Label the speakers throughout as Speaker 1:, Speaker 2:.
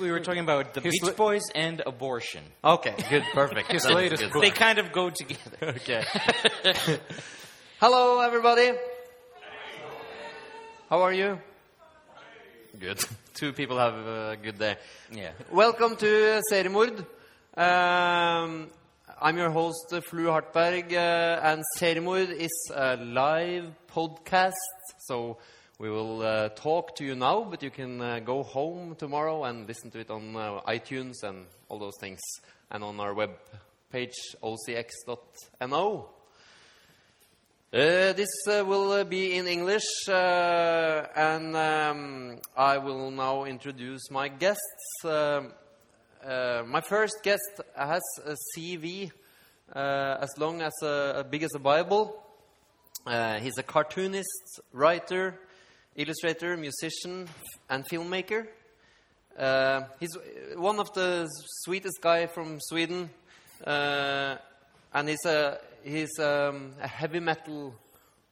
Speaker 1: we were talking about the
Speaker 2: His
Speaker 1: Beach
Speaker 2: li-
Speaker 1: Boys and abortion.
Speaker 2: Okay, good, perfect. His
Speaker 1: That's
Speaker 2: latest
Speaker 1: good.
Speaker 2: book.
Speaker 1: They kind of go together.
Speaker 2: Okay. Hello, everybody. How are you? Good. Two people have a good day.
Speaker 1: Yeah.
Speaker 2: Welcome to uh, Seriemord. Um, I'm your host, uh, Flu Hartberg, uh, and Seriemord is a live podcast, so we will uh, talk to you now, but you can uh, go home tomorrow and listen to it on uh, iTunes and all those things, and on our web page, ocx.no. Uh, this uh, will uh, be in English, uh, and um, I will now introduce my guests. Um, uh, my first guest has a CV uh, as long as a, big as a Bible. Uh, he's a cartoonist, writer, illustrator, musician, and filmmaker. Uh, he's one of the sweetest guy from Sweden, uh, and he's a he's um, a heavy metal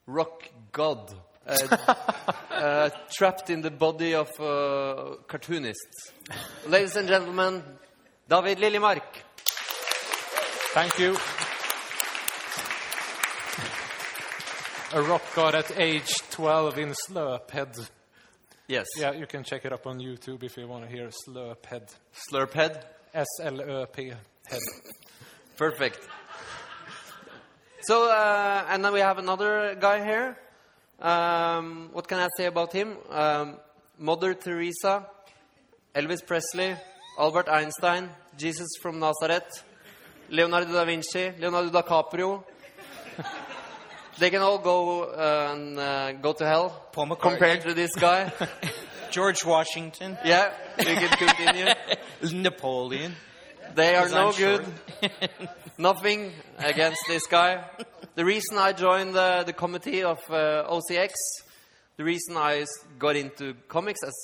Speaker 2: rock god, uh, uh, trapped in the body of uh, cartoonists. Ladies and gentlemen, David Liljemark.
Speaker 3: Thank you. A rock god at age 12 in Slurphead.
Speaker 2: Yes,
Speaker 3: Yeah, you can check it up on YouTube if you want to hear Slurphead.
Speaker 2: slurp head.
Speaker 3: S-L-Ö-P head.
Speaker 2: Perfect. So, uh, and then we have another guy here. Um, what can I say about him? Um, Mother Teresa, Elvis Presley, Albert Einstein, Jesus from Nazareth, Leonardo da Vinci, Leonardo DiCaprio. they can all go uh, and uh, go to hell
Speaker 1: Paul McCartney.
Speaker 2: compared to this guy.
Speaker 1: George Washington,
Speaker 2: yeah, we can continue.
Speaker 1: Napoleon.
Speaker 2: They are
Speaker 1: 'cause I'm
Speaker 2: no
Speaker 1: short.
Speaker 2: good. Nothing against this guy. The reason I joined the, the committee of uh, OCX, the reason I s- got into comics, as,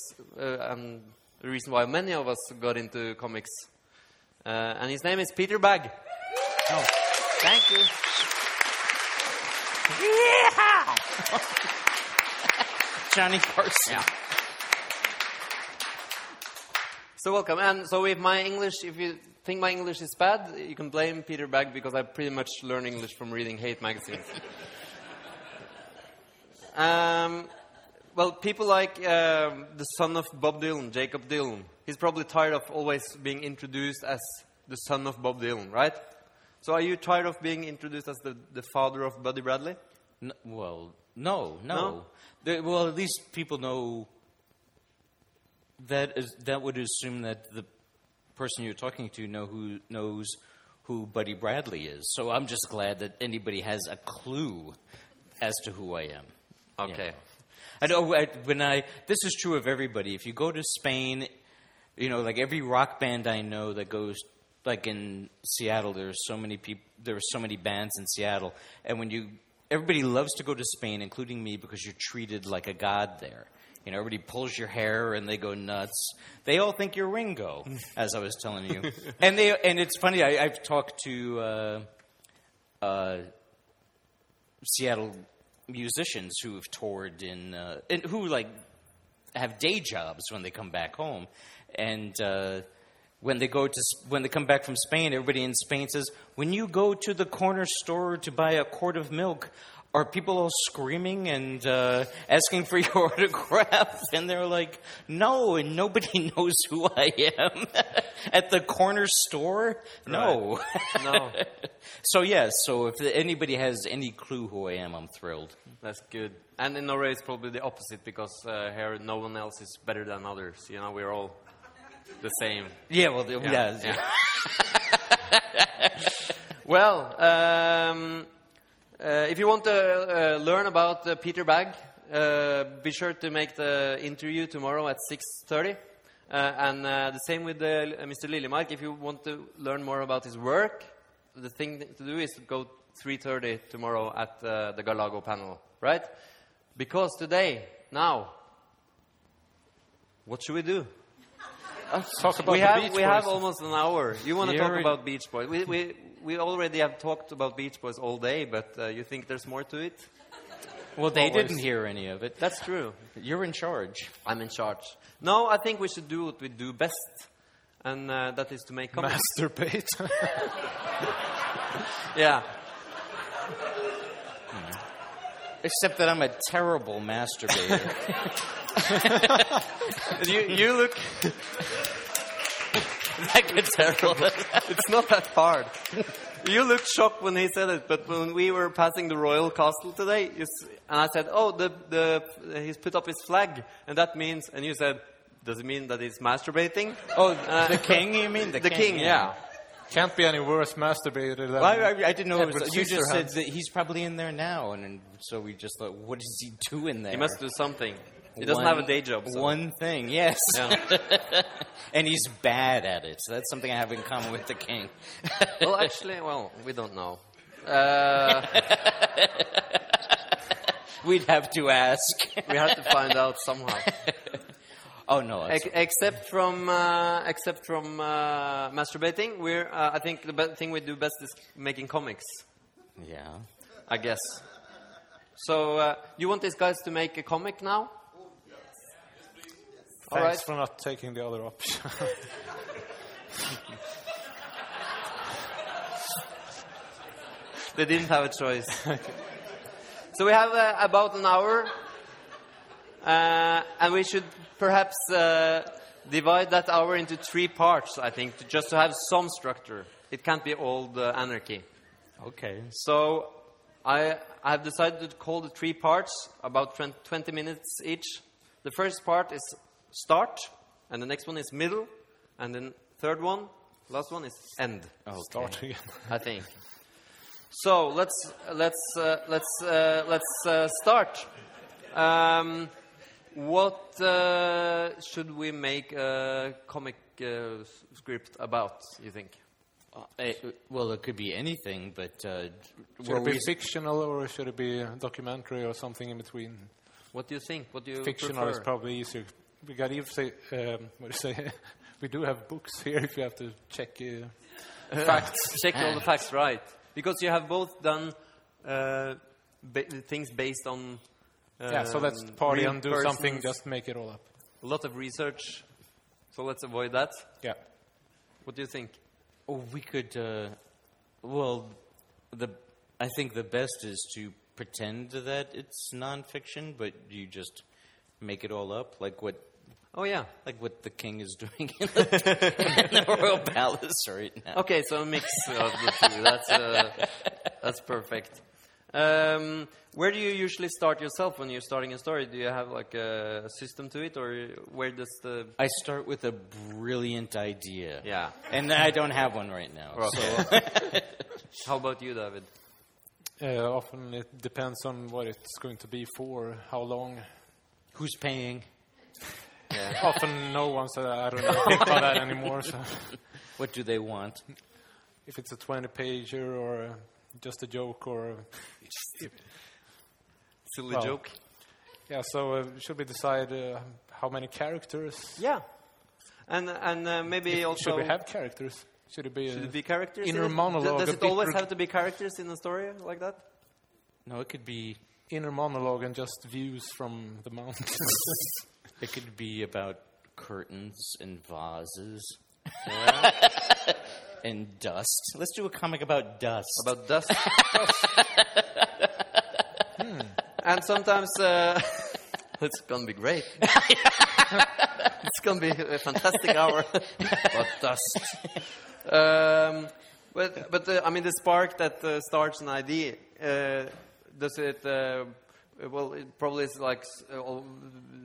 Speaker 2: uh, and the reason why many of us got into comics. Uh, and his name is Peter Bagg.
Speaker 3: Oh,
Speaker 2: Thank you.
Speaker 1: Johnny Carson.
Speaker 2: So welcome. And so if my English, if you think my English is bad, you can blame Peter Bagg because I pretty much learned English from reading hate magazines. um, well, people like um the son of Bob Dylan, Jacob Dylan, he's probably tired of always being introduced as the son of Bob Dylan, right? So are you tired of being introduced as the, the father of Buddy Bradley?
Speaker 1: N- well, no, no.
Speaker 2: No?
Speaker 1: They- well, at least people know that is that would assume that the person you're talking to know who knows who Buddy Bradley is. So I'm just glad that anybody has a clue as to who I am. you
Speaker 2: Okay.
Speaker 1: know. I know I, when I this is true of everybody. If you go to Spain, you know, like every rock band I know that goes like in Seattle, there's so many people there are so many bands in Seattle and when you everybody loves to go to Spain including me because you're treated like a god there. You know, everybody pulls your hair and they go nuts. They all think you're Ringo, as I was telling you. and they and it's funny. I, I've talked to uh, uh, Seattle musicians who have toured in uh, and who like have day jobs when they come back home, and uh, when they go to S- when they come back from Spain, everybody in Spain says, "When you go to the corner store to buy a quart of milk." Are people all screaming and uh, asking for your autograph? And they're like, no, and nobody knows who I am at the corner store? No.
Speaker 2: No.
Speaker 1: So yes, so if anybody has any clue who I am, I'm thrilled.
Speaker 2: That's good. And in Norway, it's probably the opposite because uh, here no one else is better than others. You know, we're all the same.
Speaker 1: Yeah, well, yeah,
Speaker 2: Well, um, uh, if you want to uh, learn about uh, Peter Bagg, uh, be sure to make the interview tomorrow at 6.30. Uh, and uh, the same with uh, Mr. Lillemark. If you want to learn more about his work, the thing to do is to go 3.30 tomorrow at uh, the Galago panel, right? Because today, now, what should we do?
Speaker 3: talk about
Speaker 2: we
Speaker 3: the
Speaker 2: have
Speaker 3: Beach
Speaker 2: we
Speaker 3: Boys.
Speaker 2: have almost an hour. You want to talk
Speaker 1: You're-
Speaker 2: about Beach Boys? We, we we already have talked about Beach Boys all day, but uh, you think there's more to it?
Speaker 1: Well, they
Speaker 3: Always.
Speaker 1: didn't hear any of it.
Speaker 2: That's true.
Speaker 1: You're in charge.
Speaker 2: I'm in charge. No, I think we should do what we do best, and uh, that is to make comments.
Speaker 3: Masturbate.
Speaker 2: Yeah.
Speaker 1: Except that I'm a terrible masturbator.
Speaker 2: You, you look.
Speaker 1: that gets terrible.
Speaker 2: It's not that hard. You looked shocked when he said it, but when we were passing the royal castle today, you s- and I said, "Oh, the the he's put up his flag, and that means," and you said, "Does it mean that he's masturbating?"
Speaker 1: Oh,
Speaker 2: Uh,
Speaker 1: the king? You mean the,
Speaker 2: the king, yeah.
Speaker 3: Can't be any worse masturbator than.
Speaker 1: Well, I, I- I didn't know it
Speaker 3: Edward
Speaker 1: was. You just said
Speaker 3: Scissorhands.
Speaker 1: that he's probably in there now, and, and so we just thought, what is he doing there?
Speaker 2: He must do something. He doesn't have a day job. So.
Speaker 1: One thing, yes.
Speaker 2: Yeah.
Speaker 1: and he's bad at it. So that's something I have in common with the king.
Speaker 2: well, actually, well, we don't know. Uh,
Speaker 1: We'd have to ask.
Speaker 2: we have to find out somehow.
Speaker 1: oh no, that's
Speaker 2: Ex- except from uh, except from uh, masturbating, we're uh, I think the be- thing we do best is making comics.
Speaker 1: yeah.
Speaker 2: I guess. So uh, you want these guys to make a comic now? All
Speaker 3: Thanks
Speaker 2: right.
Speaker 3: for not taking the other option.
Speaker 2: They didn't have a choice. so we have uh, about an hour, uh, and we should perhaps uh, divide that hour into three parts. I think to, just to have some structure. It can't be all the anarchy.
Speaker 1: Okay.
Speaker 2: So I I have decided to call the three parts about 20 20 minutes each. The first part is start, and the next one is middle, and then third one, last one is end.
Speaker 1: Okay.
Speaker 3: Start again.
Speaker 2: I think. So let's let's uh, let's uh, let's uh, start. Um, what uh, should we make a comic uh, s- script about? You think?
Speaker 1: Uh, it- well, it could be anything, but uh,
Speaker 3: Should
Speaker 1: were
Speaker 3: it be
Speaker 1: we-
Speaker 3: fictional or should it be a documentary or something in between?
Speaker 2: What do you think? What do you
Speaker 3: Fictional
Speaker 2: prefer?
Speaker 3: is probably easier. We got if say, um, what do you say? we do have books here if you have to check. Uh,
Speaker 2: facts. Check all the facts right. Because you have both done uh, ba- things based on. Um,
Speaker 3: yeah, so let's party
Speaker 2: real
Speaker 3: and do something.
Speaker 2: persons,
Speaker 3: Just make it all up.
Speaker 2: A lot of research. So let's avoid that.
Speaker 3: Yeah.
Speaker 2: What do you think?
Speaker 1: Oh, we could. Uh, well, the I think the best is to pretend that it's nonfiction, but you just make it all up, like what
Speaker 2: Oh, yeah.
Speaker 1: like what the king is doing in the, in the royal palace right now.
Speaker 2: Okay, so a mix of the two. That's, uh, that's perfect. Um, where do you usually start yourself when you're starting a story? Do you have like a system to it, or where does the
Speaker 1: I start with a brilliant idea.
Speaker 2: yeah?
Speaker 1: And I don't have one right now.
Speaker 2: Or-
Speaker 1: so-
Speaker 2: How about you, David?
Speaker 3: Uh, often it depends on what it's going to be for, how long.
Speaker 1: who's paying?
Speaker 3: Often no one said, I don't know, think about that anymore. So.
Speaker 1: What do they want?
Speaker 3: If it's a 20 pager or uh, just a joke or.
Speaker 2: Silly
Speaker 3: Well,
Speaker 2: joke.
Speaker 3: Yeah, so uh, should we decide uh, how many characters?
Speaker 2: Yeah. And and uh, maybe also
Speaker 3: Should we have characters? Should it be.
Speaker 2: should
Speaker 3: uh,
Speaker 2: it be characters?
Speaker 3: Inner
Speaker 2: in it?
Speaker 3: monologue,
Speaker 2: Does
Speaker 3: a
Speaker 2: it
Speaker 3: bit
Speaker 2: always
Speaker 3: reg-
Speaker 2: have to be characters in a story like that?
Speaker 1: No, it could be
Speaker 3: inner monologue and just views from the mountains.
Speaker 1: it could be about curtains and vases and dust. Let's do a comic about dust.
Speaker 2: About dust. Hmm. And sometimes uh, it's gonna be great. it's gonna be a fantastic hour. but dust. Um, but but uh, I mean the spark that uh, starts an idea. Uh, does it? Uh, well, it probably is like s- uh, all,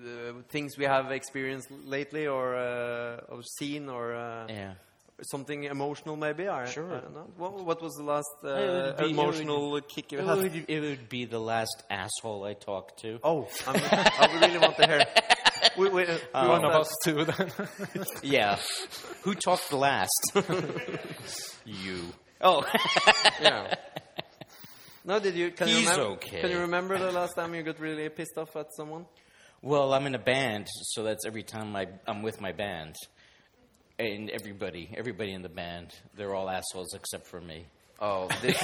Speaker 2: uh, things we have experienced lately, or uh, or seen, or uh,
Speaker 1: yeah.
Speaker 2: something emotional, maybe. I,
Speaker 1: Sure.
Speaker 2: I don't know. What, what was the last
Speaker 1: It
Speaker 2: uh,
Speaker 1: would be- it would-
Speaker 2: emotional kick you
Speaker 1: It
Speaker 2: had?
Speaker 1: would, it would be the last asshole I talk to.
Speaker 2: Oh, I'm, I really want to hear. We, we, uh, we
Speaker 3: One
Speaker 2: want
Speaker 3: of
Speaker 2: that.
Speaker 3: us two then.
Speaker 1: Yeah. Who talked last? you.
Speaker 2: Oh, yeah. No, did you? Can you
Speaker 1: He's
Speaker 2: remember,
Speaker 1: okay.
Speaker 2: Can you remember the last time you got really pissed off at someone?
Speaker 1: Well, I'm in a band, so that's every time I, I'm with my band. And everybody, everybody in the band, they're all assholes except for me.
Speaker 2: Oh, this,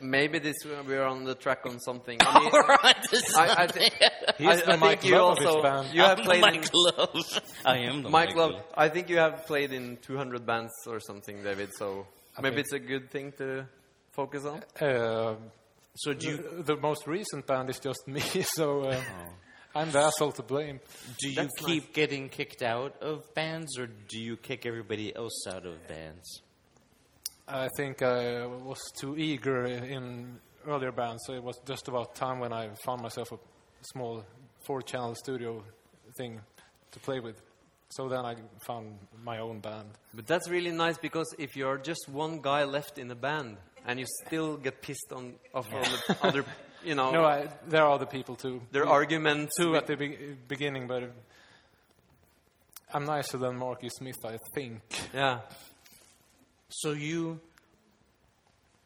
Speaker 2: maybe this we're on the track on something. I mean,
Speaker 1: We're onto
Speaker 2: I, I,
Speaker 1: something.
Speaker 2: thi-
Speaker 3: He's
Speaker 2: I,
Speaker 3: the
Speaker 2: I
Speaker 3: Mike
Speaker 2: think you
Speaker 3: Love of his
Speaker 2: also
Speaker 3: band.
Speaker 2: you have
Speaker 1: I'm
Speaker 2: played in,
Speaker 1: Mike Love. I am the
Speaker 2: Mike Love.
Speaker 1: Love.
Speaker 2: I think you have played in 200 bands or something, David. So maybe
Speaker 3: Okay.
Speaker 2: it's a good thing to focus on.
Speaker 3: Um,
Speaker 1: So do you
Speaker 3: the, the most recent band is just me, so uh, I'm the asshole to blame.
Speaker 1: Oh. do you
Speaker 2: That's
Speaker 1: keep getting kicked out of bands, or do you kick everybody else out of bands?
Speaker 3: I think I was too eager in earlier bands, so it was just about time when I found myself a small four-channel studio thing to play with. So then I found my own band.
Speaker 2: But that's really nice because if you're just one guy left in a band and you still get pissed on off on the other, you
Speaker 1: Oh.
Speaker 2: know,
Speaker 3: No, I, there are other people too.
Speaker 2: their arguments.
Speaker 3: two
Speaker 2: with-
Speaker 3: at the be- beginning, but I'm nicer than Marcus Smith, I think.
Speaker 2: yeah,
Speaker 1: So you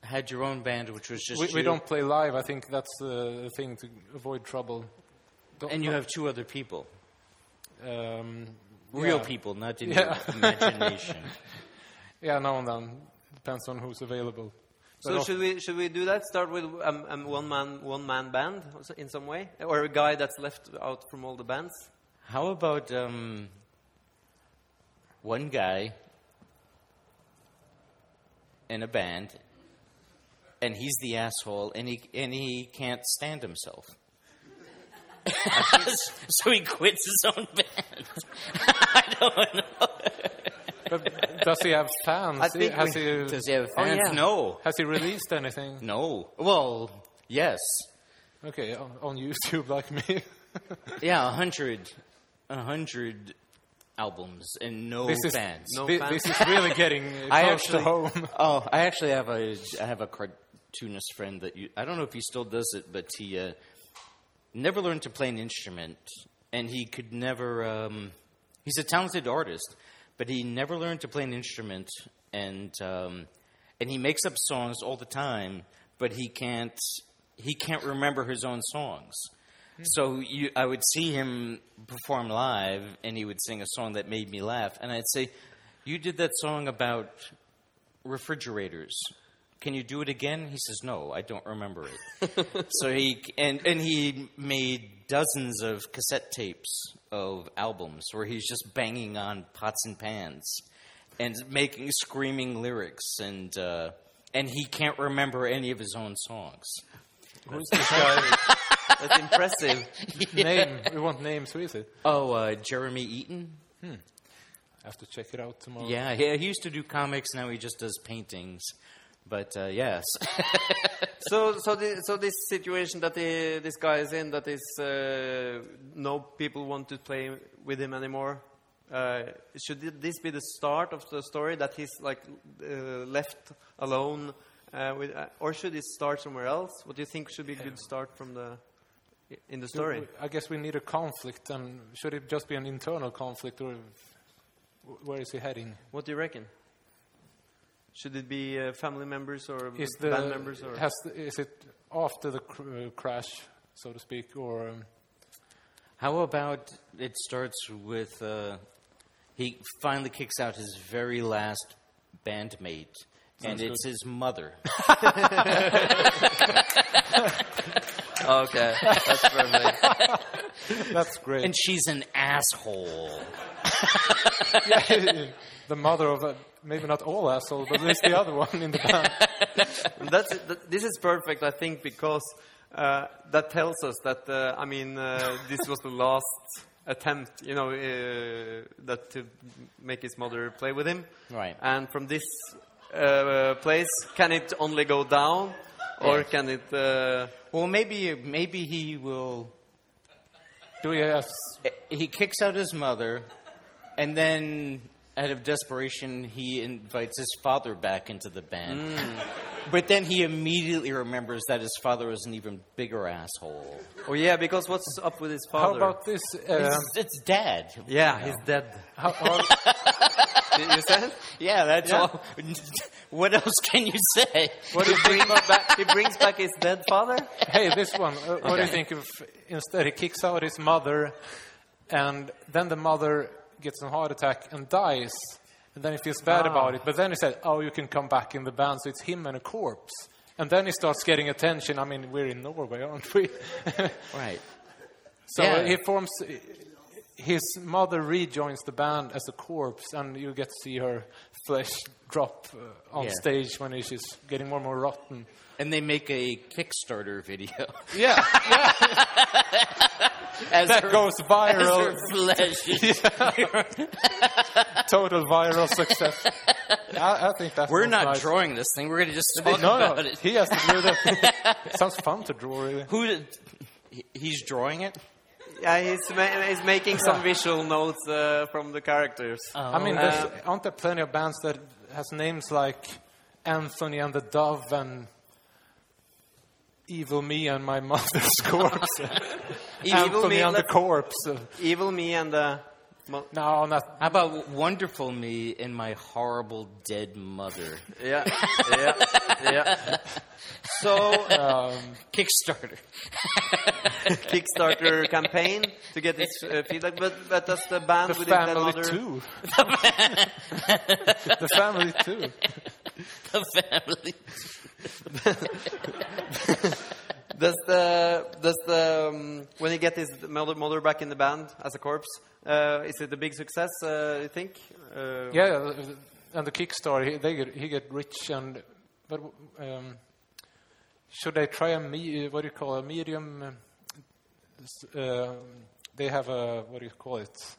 Speaker 1: had your own band, which was just
Speaker 3: We, we
Speaker 1: you,
Speaker 3: don't play live. I think that's the thing to avoid trouble. Don't-
Speaker 1: and you have two other people,
Speaker 3: um,
Speaker 1: real
Speaker 3: yeah.
Speaker 1: people, not in
Speaker 3: Yeah.
Speaker 1: your imagination.
Speaker 3: Yeah, now and then depends on who's available. But
Speaker 2: So
Speaker 3: of-
Speaker 2: should we should we do that? Start with um, um, one man one man band in some way, or a guy that's left out from all the bands?
Speaker 1: How about um, one guy in a band, and he's the asshole, and he and he can't stand himself. so he quits his own band. I don't know.
Speaker 3: but does he have fans?
Speaker 2: I think
Speaker 3: has,
Speaker 2: we-
Speaker 3: he,
Speaker 1: Does he have
Speaker 2: Oh,
Speaker 1: fans?
Speaker 2: yeah.
Speaker 1: No,
Speaker 3: has he released anything?
Speaker 1: no. Well, yes,
Speaker 3: Okay, on, on YouTube like me.
Speaker 1: yeah, a hundred, a hundred albums and no
Speaker 3: this is
Speaker 1: fans.
Speaker 2: No
Speaker 3: thi-
Speaker 2: fans.
Speaker 3: this is really getting uh,
Speaker 1: I
Speaker 3: close to
Speaker 1: actually,
Speaker 3: home.
Speaker 1: oh, I actually have a I have a cartoonist friend that you. I don't know if he still does it, but he uh, never learned to play an instrument, and he could never. Um, he's a talented artist, but he never learned to play an instrument, and um, and he makes up songs all the time, but he can't he can't remember his own songs. So you, I would see him perform live, and he would sing a song that made me laugh, and I'd say, "You did that song about refrigerators." Can you do it again? He says, "No, I don't remember it." so he and and he made dozens of cassette tapes of albums where he's just banging on pots and pans and making screaming lyrics and uh, and he can't remember any of his own songs.
Speaker 3: Who's this guy?
Speaker 2: That's impressive.
Speaker 3: Name. We want names. Who is it?
Speaker 1: Oh, uh, Jeremy Eaton.
Speaker 3: I have to check it out tomorrow.
Speaker 1: Yeah, he, he used to do comics. Now he just does paintings. But uh, yes,
Speaker 2: So so the, so this situation that the, this guy is in that is uh, no people want to play with him anymore. Uh, should thi- this be the start of the story that he's like uh, left alone, uh, with, uh, or should it start somewhere else? What do you think should be a good start from the in the
Speaker 3: Do
Speaker 2: story?
Speaker 3: we- I guess we need a conflict, and should it just be an internal conflict, or w- where is he heading?
Speaker 2: What do you reckon? Should it be uh, family members or
Speaker 3: Is the
Speaker 2: band members? Or
Speaker 3: has the, is it after the cr- uh, crash, so to speak, or um,
Speaker 1: how about it starts with uh, he finally kicks out his very last bandmate, and
Speaker 3: Sounds
Speaker 1: it's his mother.
Speaker 2: okay, that's perfect.
Speaker 3: that's great?
Speaker 1: And she's an asshole.
Speaker 3: um, the mother of a, maybe not all assholes, but at least the other one in the band.
Speaker 2: That's, that, this is perfect, I think, because uh, that tells us that uh, I mean uh, this was the last attempt, you know, uh, that to make his mother play with him.
Speaker 1: Right.
Speaker 2: And from this uh, place, can it only go down, or can it? Uh,
Speaker 1: Well, maybe maybe he will.
Speaker 3: Do we have,
Speaker 1: He kicks out his mother, and then out of desperation, he invites his father back into the band.
Speaker 3: Mm.
Speaker 1: But then he immediately remembers that his father is an even bigger asshole.
Speaker 2: oh yeah, because what's up with his
Speaker 3: how
Speaker 2: father?
Speaker 3: about this? Um,
Speaker 1: It's, it's dad.
Speaker 2: yeah, he's dead.
Speaker 3: how, how-
Speaker 2: You you said.
Speaker 1: Yeah, that's
Speaker 2: Yeah.
Speaker 1: all. what else can you say?
Speaker 2: What he brings back? He brings back his dead father.
Speaker 3: hey, this one. Uh, What do you think if instead he kicks out his mother, and then the mother gets a heart attack and dies, And then he feels bad
Speaker 2: Ah.
Speaker 3: about it. But then he said, "Oh, you can come back in the band." So it's him and a corpse. And then he starts getting attention. I mean, we're in Norway, aren't we?
Speaker 1: Right.
Speaker 3: so
Speaker 1: Yeah.
Speaker 3: he forms. His mother rejoins the band as a corpse, and you get to see her flesh drop uh, on
Speaker 1: Yeah.
Speaker 3: stage when she's getting more and more rotten.
Speaker 1: And they make a Kickstarter video
Speaker 3: Yeah,
Speaker 1: as
Speaker 3: that
Speaker 1: her-
Speaker 3: goes
Speaker 1: as her
Speaker 3: viral.
Speaker 1: flesh is
Speaker 3: Total viral success. I, I think that's
Speaker 1: We're
Speaker 3: what's
Speaker 1: not
Speaker 3: nice.
Speaker 1: drawing this thing. We're going to just talk
Speaker 3: no,
Speaker 1: about
Speaker 3: no,
Speaker 1: it.
Speaker 3: he has to do that. Sounds fun to draw, really.
Speaker 1: Who? did- he- He's drawing it.
Speaker 2: Yeah, he's, ma- he's making some visual notes uh, from the characters.
Speaker 3: I mean,
Speaker 2: Uh,
Speaker 3: there's, aren't there plenty of bands that has names like Anthony and the Dove and Evil Me and My Mother's Corpse?
Speaker 2: Evil
Speaker 3: Anthony
Speaker 2: Me,
Speaker 3: and the
Speaker 2: let's-
Speaker 3: Corpse.
Speaker 2: Evil me and the. Mo-
Speaker 3: No, not.
Speaker 1: How about wonderful me and my horrible dead mother?
Speaker 2: yeah, yeah, yeah. So
Speaker 1: Kickstarter.
Speaker 2: Kickstarter campaign to get this uh, feedback, but but does the band
Speaker 3: The
Speaker 2: within that
Speaker 3: family
Speaker 2: other
Speaker 3: too. the family too.
Speaker 1: The family.
Speaker 2: does the does the um, when you get his mother, mother back in the band as a corpse, uh, is it a big success? Uh, you think? Uh,
Speaker 3: Yeah, uh, and the Kickstarter, he, they get, he get rich and. But um, should they try a me, uh, what do you call a medium? um, s- Uh, they have a what do you call it?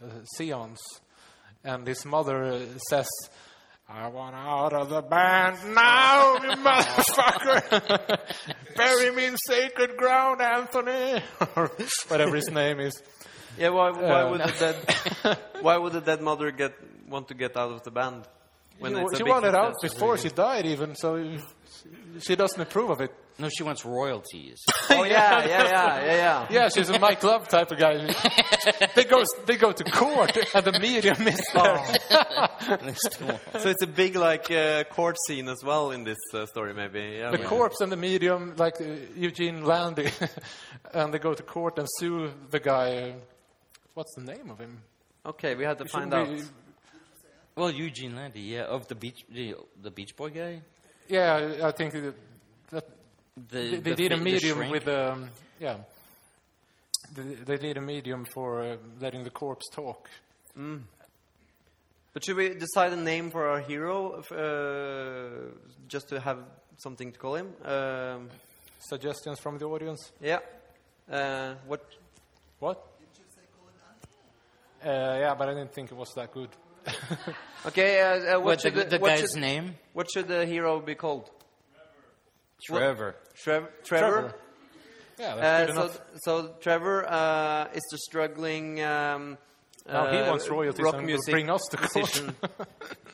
Speaker 3: A seance, and his mother uh, says. I want out of the band now, you motherfucker! Bury me in sacred ground, Anthony! or whatever his name is.
Speaker 2: Yeah, why, why
Speaker 3: Uh,
Speaker 2: would the dead why would the dead mother get want to get out of the band?
Speaker 3: She-
Speaker 2: it's a
Speaker 3: she
Speaker 2: big
Speaker 3: wanted out
Speaker 2: success?
Speaker 3: before she died, even, so she doesn't approve of it.
Speaker 1: No, she wants royalties.
Speaker 2: Oh yeah, yeah, yeah, yeah, yeah.
Speaker 3: Yeah, she's a Mike Love type of guy. they go they go to court, Oh, and the medium is there.
Speaker 2: So it's a big like uh, court scene as well in this uh, story, maybe. Yeah,
Speaker 3: The
Speaker 2: yeah.
Speaker 3: corpse and the medium, like uh, Eugene Landy, and they go to court and sue the guy. uh, What's the name of him?
Speaker 2: Okay, we had to find out.
Speaker 3: Shouldn't
Speaker 1: well, Eugene Landy, yeah, of the beach, the, the Beach Boy guy.
Speaker 3: we- yeah, I think that, that
Speaker 1: The,
Speaker 3: they, they
Speaker 1: the
Speaker 3: did a
Speaker 1: fi- the
Speaker 3: medium
Speaker 1: shrink.
Speaker 3: with um, yeah. They, they did a medium for uh, letting the corpse talk.
Speaker 2: But should we decide a name for our hero, f- uh, just to have something to call him? Um,
Speaker 3: Suggestions from the audience?
Speaker 2: yeah. Uh, what?
Speaker 3: What? Uh, yeah, but I didn't think it was that good.
Speaker 2: Okay. Uh, uh, what
Speaker 1: What, the,
Speaker 2: should the,
Speaker 1: the
Speaker 2: what
Speaker 1: guy's
Speaker 2: should,
Speaker 1: name?
Speaker 2: What should the hero be called?
Speaker 1: Trevor.
Speaker 2: Trev- Trevor.
Speaker 3: Yeah,
Speaker 2: Uh,
Speaker 3: that's good
Speaker 2: so,
Speaker 3: enough.
Speaker 2: so Trevor uh, is the struggling. Um,
Speaker 3: Now he
Speaker 2: uh,
Speaker 3: wants royalties
Speaker 2: rock
Speaker 3: and will
Speaker 2: music
Speaker 3: bring us to court.
Speaker 2: musician.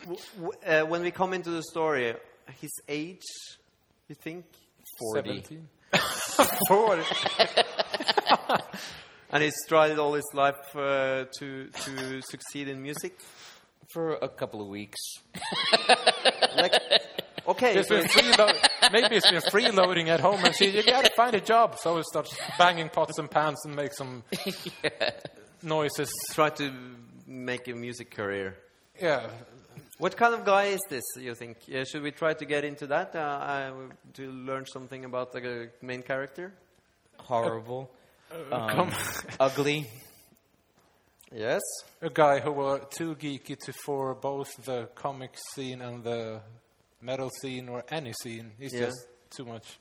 Speaker 2: W- w- uh, when we come into the story, his age, you think,
Speaker 1: 40.
Speaker 3: 17. 40.
Speaker 2: and he's tried all his life uh, to to succeed in music.
Speaker 1: For a couple of weeks.
Speaker 2: Okay,
Speaker 3: He's
Speaker 2: so
Speaker 3: been freelo- maybe he's been freeloading at home and she, you gotta find a job. So he starts banging pots and pans and makes some noises.
Speaker 2: try to make a music career.
Speaker 3: Yeah.
Speaker 2: What kind of guy is this? You think? Uh, should we try to get into that uh, uh, to learn something about the uh, main character?
Speaker 1: Horrible. um,
Speaker 3: come-
Speaker 1: ugly.
Speaker 2: Yes.
Speaker 3: A guy who were too geeky to for both the comic scene and the metal scene or any scene. He's
Speaker 2: Yeah.
Speaker 3: just too much.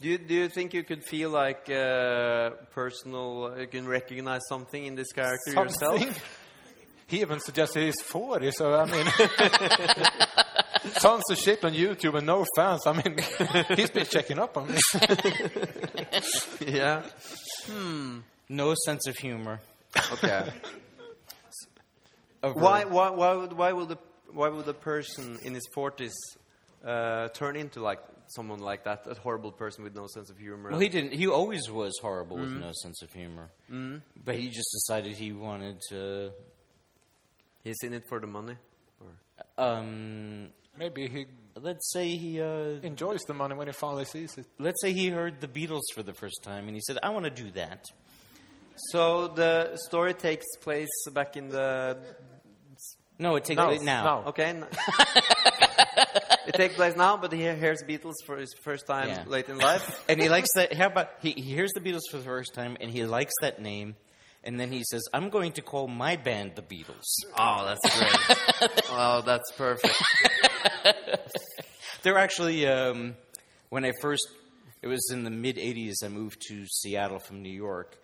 Speaker 2: Do you, do you think you could feel like uh, personal? You can recognize something in this character yourself.
Speaker 3: Something. He even suggested he's 40, so I mean, tons of shit on YouTube and no fans. I mean, he's been checking up on me.
Speaker 2: yeah.
Speaker 1: No sense of humor.
Speaker 2: Okay.
Speaker 1: A
Speaker 2: why, why, why would, why would the, why would the person in his forties uh, turn into like someone like that, a horrible person with no sense of humor?
Speaker 1: Well, he didn't. He always was horrible with no sense of humor. Mm. But he just decided he wanted to.
Speaker 2: He's in it for the money. Or?
Speaker 1: Um,
Speaker 3: Maybe he
Speaker 1: let's say he. Uh,
Speaker 3: enjoys the money when he finally sees it.
Speaker 1: let's say he heard the Beatles for the first time, and he said, "I want to do that."
Speaker 2: So the story takes place back in the
Speaker 1: No, it takes
Speaker 3: Now,
Speaker 1: it now.
Speaker 3: now.
Speaker 2: Okay. n- it takes place now, but he hears Beatles for his first time
Speaker 1: Yeah.
Speaker 2: late in life.
Speaker 1: And he likes that. How about he, he hears the Beatles for the first time and he likes that name, and then he says, "I'm going to call my band the Beatles."
Speaker 2: oh, that's great. oh, that's perfect.
Speaker 1: They're actually um, when I first it was in the mid '80s. I moved to Seattle from New York,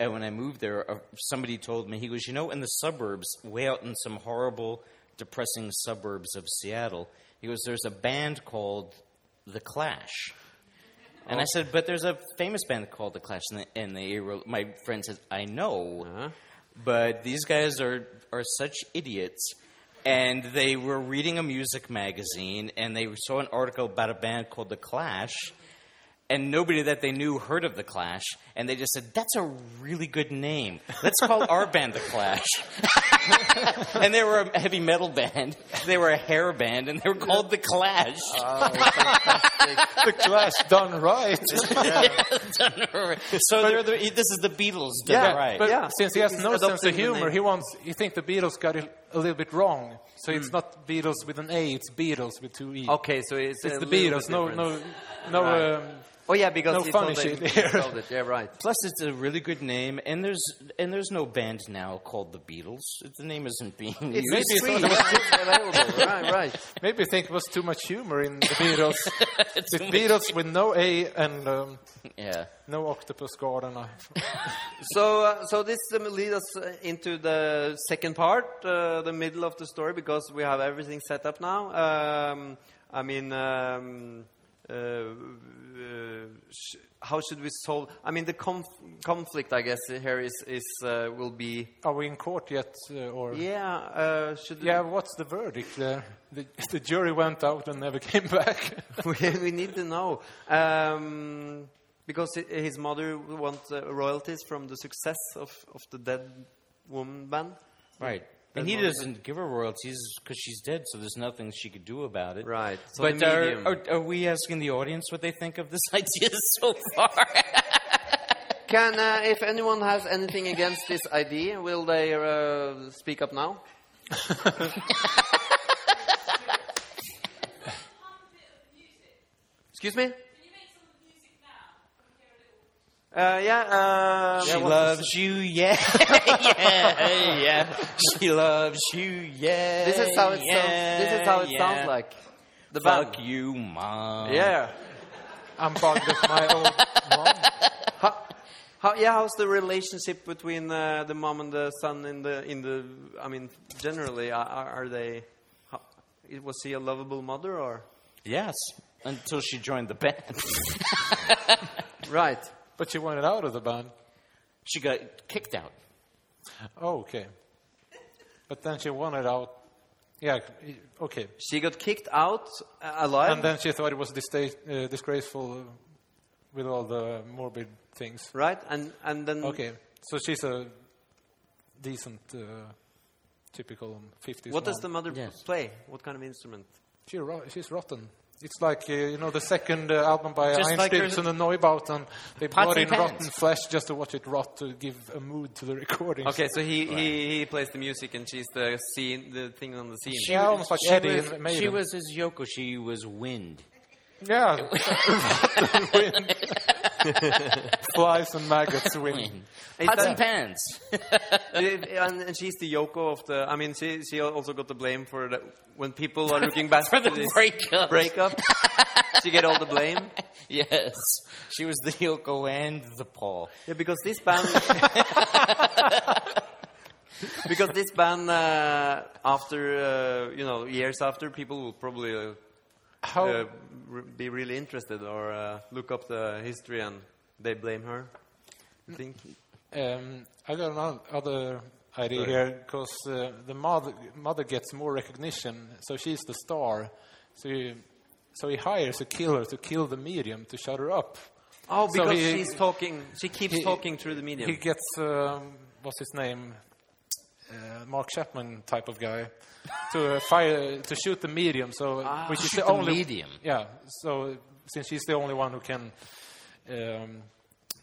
Speaker 1: and when I moved there, uh, somebody told me he goes, "You know, in the suburbs, way out in some horrible, depressing suburbs of Seattle, he goes, there's a band called The Clash." And I said, "But there's a famous band called The Clash," and, they, and they were, my friend says, "I know."
Speaker 2: Uh-huh.
Speaker 1: but these guys are are such idiots and they were reading a music magazine and they saw an article about a band called the clash and nobody that they knew heard of the clash and they just said that's a really good name let's call our band the clash and they were a heavy metal band they were a hair band and they were called the clash
Speaker 3: the clash done right.
Speaker 1: so they're the, this is the beatles done right
Speaker 3: but
Speaker 2: Yeah.
Speaker 3: since he has
Speaker 2: He's
Speaker 3: no sense
Speaker 2: adopting
Speaker 3: of
Speaker 2: the
Speaker 3: humor,
Speaker 2: name.
Speaker 3: he wants. He think the Beatles got it a little bit wrong. So it's not Beatles with an A, it's Beatles with two E.
Speaker 2: Mm. Okay, so it's,
Speaker 3: It's
Speaker 2: a
Speaker 3: the
Speaker 2: little
Speaker 3: Beatles.
Speaker 2: bit
Speaker 3: No,
Speaker 2: different.
Speaker 3: no, no.
Speaker 2: Right.
Speaker 3: Um,
Speaker 2: Oh yeah, because
Speaker 3: no
Speaker 2: he
Speaker 3: funny
Speaker 2: told
Speaker 3: shit
Speaker 2: it-
Speaker 3: here.
Speaker 2: he told it. Yeah, right.
Speaker 1: Plus, it's a really good name, and there's and there's no band now called the Beatles. The name isn't being used.
Speaker 3: Maybe it's
Speaker 2: Free,
Speaker 3: not-
Speaker 2: it's available. Right, right.
Speaker 3: maybe you think it was too much humor in the Beatles. the Beatles with no A and um,
Speaker 1: Yeah.
Speaker 3: no Octopus Garden. I-
Speaker 2: So, uh, so this um, leads us uh, into the second part, uh, the middle of the story, because we have everything set up now. Um, I mean, um, uh, uh, sh- how should we solve? I mean, the conf- conflict, I guess, here is is uh, will be.
Speaker 3: Are we in court yet? Uh, or
Speaker 2: Yeah, uh, should
Speaker 3: Yeah, what's the verdict there? The, the jury went out and never came back.
Speaker 2: we, we need to know um, because hi- his mother wants uh, royalties from the success of of the dead woman band.
Speaker 1: Right. And he doesn't give her royalties because she's dead, so there's nothing she could do about it.
Speaker 2: Right. So
Speaker 1: but
Speaker 2: the
Speaker 1: are,
Speaker 2: medium.
Speaker 1: are, are we asking the audience what they think of this idea so far?
Speaker 2: Can uh, if anyone has anything against this idea, will they uh, speak up now? Excuse me. Uh, yeah, uh,
Speaker 1: she loves you, yeah, yeah, yeah. She loves you, yeah.
Speaker 2: This is how it
Speaker 1: yeah,
Speaker 2: sounds. This is how it
Speaker 1: yeah.
Speaker 2: sounds like. The
Speaker 1: Fuck
Speaker 2: band.
Speaker 1: you, mom.
Speaker 2: Yeah.
Speaker 3: I'm bugged with my old mom.
Speaker 2: How, how, yeah. How's the relationship between uh, the mom and the son in the in the? I mean, generally, are, are are they? How, was he a lovable mother or?
Speaker 1: Yes. Until she joined the band.
Speaker 2: Right.
Speaker 3: But she wanted out of the band.
Speaker 1: She got kicked out.
Speaker 3: Oh, okay. But then she wanted out. Yeah, c- okay.
Speaker 2: She got kicked out uh, alive.
Speaker 3: And then she thought it was dista- uh, disgraceful with all the morbid things.
Speaker 2: right. And and then.
Speaker 3: Okay, so she's a decent, uh, typical 50s.
Speaker 2: What does the
Speaker 3: mom.
Speaker 2: mother
Speaker 1: Yes.
Speaker 2: play? What kind of instrument?
Speaker 3: She ro- she's rotten. It's like uh, you know the second uh, album by
Speaker 1: Just like her-
Speaker 3: Einstürzen and Neubauten. They
Speaker 1: Pots
Speaker 3: brought in
Speaker 1: and pans.
Speaker 3: rotten flesh just to watch it rot to give a mood to the recording.
Speaker 2: Okay, so he, he, he plays the music and she's the scene, the thing on the scene.
Speaker 1: She,
Speaker 3: Yeah, almost like
Speaker 1: she
Speaker 3: Eddie
Speaker 1: was,
Speaker 3: in Maiden.
Speaker 1: She was his Yoko. She was wind.
Speaker 3: Yeah. Rotten wind. Flies and maggots win.
Speaker 2: Is
Speaker 1: Pots
Speaker 2: that-
Speaker 1: and pans.
Speaker 2: Yeah, and, and she's the Yoko of the. I mean, she she also got the blame for the, when people are looking back
Speaker 1: For the
Speaker 2: to this
Speaker 1: breakup.
Speaker 2: breakup. she get all the blame.
Speaker 1: yes. She was the Yoko and the Paul.
Speaker 2: Yeah, because this band. because this band, uh, after uh, you know years after, people will probably uh,
Speaker 3: How
Speaker 2: uh, re- be really interested or uh, look up the history and they blame her. I think.
Speaker 1: Uh,
Speaker 3: Um, I got another idea here because uh, the mother mother gets more recognition, so she's the star. So he, so he hires a killer to kill the medium to shut her up.
Speaker 2: Oh,
Speaker 3: So
Speaker 2: because
Speaker 3: he-
Speaker 2: she's talking. She keeps
Speaker 3: he-
Speaker 2: talking through the medium.
Speaker 3: He gets um, what's his name, uh, Mark Chapman type of guy, to uh, fire to shoot the medium. So which is
Speaker 1: Shoot
Speaker 3: the
Speaker 1: the
Speaker 3: only
Speaker 1: medium.
Speaker 3: Yeah. So since she's the only one who can um,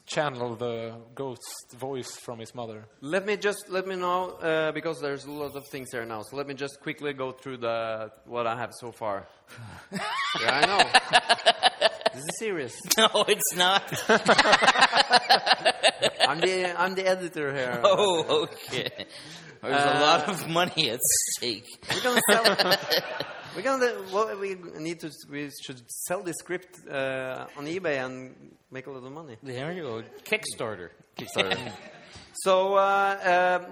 Speaker 3: channel the ghost voice from his mother.
Speaker 2: Let me just let me know uh, because there's a lot of things there now. So let me just quickly go through the what I have so far. yeah, I know. This is serious.
Speaker 1: No, it's not.
Speaker 2: I'm the I'm the editor here.
Speaker 1: Oh, okay. There's a lot of money at stake.
Speaker 2: We're gonna sell. we're gonna. Well, we need to. We should sell this script uh, on eBay and make a lot of money.
Speaker 1: There you go. Kickstarter.
Speaker 2: Kickstarter. So uh, um,